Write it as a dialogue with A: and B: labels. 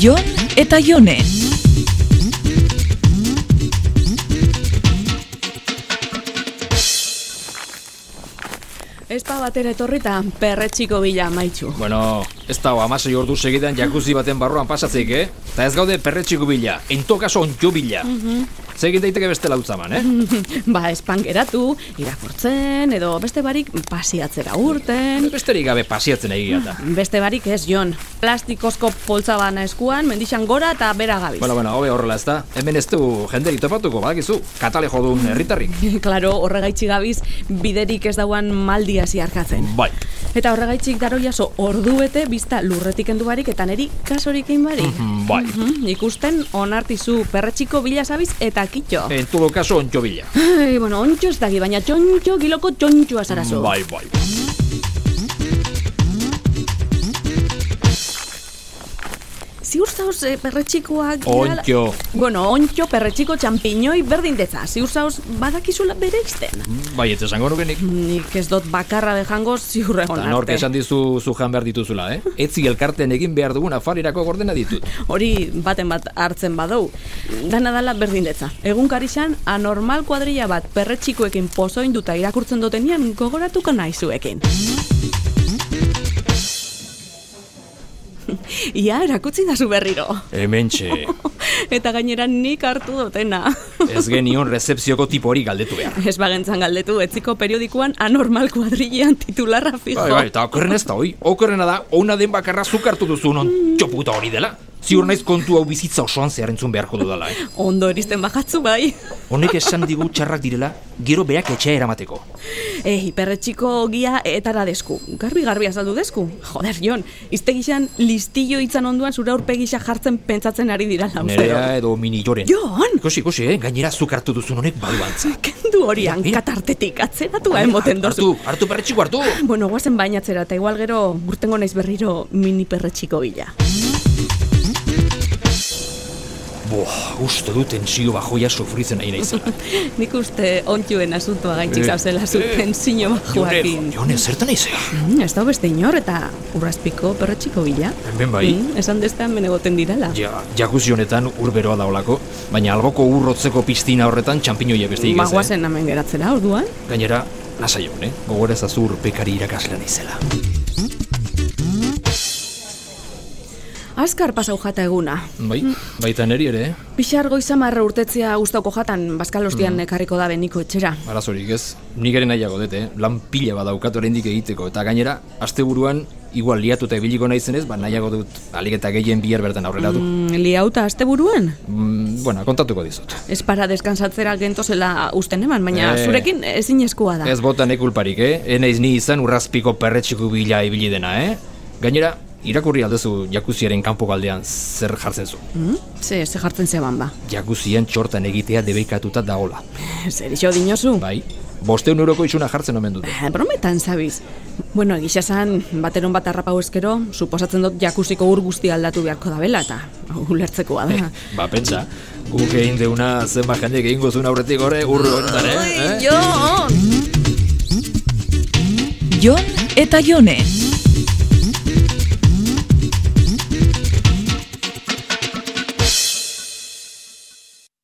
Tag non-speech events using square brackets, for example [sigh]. A: Jon eta Jone.
B: Ez da batera etorrita, perretxiko bila maitxu. [laughs]
C: Bueno, ez dago amasei ordu segidan jakuzi baten barruan pasatzeik, eh? Eta ez gaude perretxiku bila, entokaso ontio bila.
B: Mhm.
C: Zegin daiteke beste lautzaman, eh?
B: ba, espan geratu, irakurtzen, edo beste barik pasiatzera urten.
C: Besterik gabe pasiatzen egia da.
B: Beste barik ez, Jon. Plastikozko poltza bana eskuan, mendixan gora eta bera gabiz.
C: Bueno, bueno, hobe horrela ez da. Hemen ez du jenderi topatuko, badakizu, katale jodun herritarrik.
B: [laughs] Klaro, horregaitxik gabiz, biderik ez dauan maldia ziarkatzen.
C: Bai.
B: Eta horregaitxik daroiaso orduete bizta lurretik endu barik eta neri kasorik egin barik.
C: Mm, Bai.
B: Mhm, ikusten onartizu perretxiko bila zabiz eta kitxo.
C: En todo caso, ontio bila.
B: Ai, bueno, ontxo ez daki, baina txontxo giloko txontxoa zarazu.
C: Bai, bai.
B: Ziur zauz eh, perretxikoak... girala-
C: Ontio.
B: Bueno, ontxo, perretxiko, txampiñoi, berdin deza. Ziur zauz badakizula bere izten.
C: Bai, ez esango nukenik.
B: Nik ez dut bakarra dejango ziur egon
C: Eta nork
B: arte.
C: esan dizu zujan behar dituzula, eh? Etzi elkarten egin behar dugun afarirako gordena ditut.
B: Hori baten bat hartzen badou. Dana dala berdin detza. Egun karixan, anormal kuadrilla bat perretxikoekin pozoinduta irakurtzen dutenian gogoratuko naizuekin. [laughs] Ia, erakutsi dazu berriro. [laughs]
C: Hementxe.
B: Eta gainera nik hartu dutena. [laughs]
C: Ez genion rezepzioko tipo hori galdetu behar.
B: Ez bagentzan galdetu, etziko periodikoan anormal kuadrillan titularra fijo.
C: Bai, bai, eta okerren ez da, oi. Okerrena da, ona den bakarra zukartu duzu non txoputa hori dela. Ziur naiz kontu hau bizitza osoan zehar entzun beharko dudala, eh?
B: Ondo eristen bajatzu bai.
C: Honek esan digu txarrak direla, gero berak etxea eramateko.
B: E, hiperretxiko gia etara desku. Garbi-garbi azaldu desku. Joder, Jon, iztegixan listillo hitzan onduan zure aurpegisa jartzen pentsatzen ari dira lauzero.
C: Nerea eh. edo mini joren.
B: Jon!
C: Ikusi, ikusi, eh? Gainera zukartu duzun honek badu
B: [laughs]
C: antza.
B: Kendu hori
C: Mira.
B: hankatartetik atzeratua Ba, emoten dozu.
C: Hartu, hartu perretxiko Bai, hartu!
B: Bueno, guazen bainatzera, eta igual gero urtengo naiz berriro mini perretxiko bila.
C: Boa, uste du tensio bajoia sufritzen nahi naizela.
B: [laughs] Nik uste ontxuen asuntua gaitxik
C: Eh,
B: zauzela zuten zino bajuakin.
C: Jone, jone, zertan naizea?
B: Mm, ez da beste inor eta urrazpiko perretxiko bila.
C: Ben bai.
B: Mm, esan destean men egoten dirala.
C: Ja, jakuzi honetan urberoa daolako, baina alboko urrotzeko piztina horretan txampinoia beste ikiz,
B: Bagoazen hemen geratzera, orduan.
C: Gainera, lasai egon, eh? Gogora ezazu urpekari irakaslan izela.
B: Azkar pasau jata eguna.
C: Bai, baita neri ere, eh?
B: Pixar goizamarra urtetzea gustauko jatan, bazkalostian
C: Mm.
B: ekarriko da beniko etxera.
C: Arazorik ez, nik ere nahiago dut, eh? Lan pila badaukat oraindik egiteko, eta gainera, asteburuan igual liatuta ibiliko naizenez, ba nahiago dut alik eta gehien bihar bertan aurrera du.
B: Mm, liauta asteburuan?
C: Mm, bueno, kontatuko dizut.
B: Ez para deskansatzera gentozela usten eman, baina
C: Eh.
B: zurekin ezin eskua da.
C: Ez botan ekulparik, eh? Enaiz ni izan urrazpiko perretxiku bila ibili dena, eh? Gainera, irakurri aldezu jakuziaren kanpo galdean zer jartzen zu.
B: Mm? Ze, ze jartzen zeban ba.
C: Jakuzien txortan egitea debeikatuta dagola.
B: Zer iso dinozu?
C: Bai, bosteun euroko isuna jartzen omen dute.
B: Eh, Brometan, zabiz. Bueno, egisa esan, bateron bat harrapau eskero, suposatzen dut jakusiko ur guzti aldatu beharko da bela, eta ulertzekoa da.
C: Ba, pentsa, guk egin deuna zenbat jendek egingo zuen aurretik gore urru honetan, eh?
B: Jon!
A: Jon eta Jone.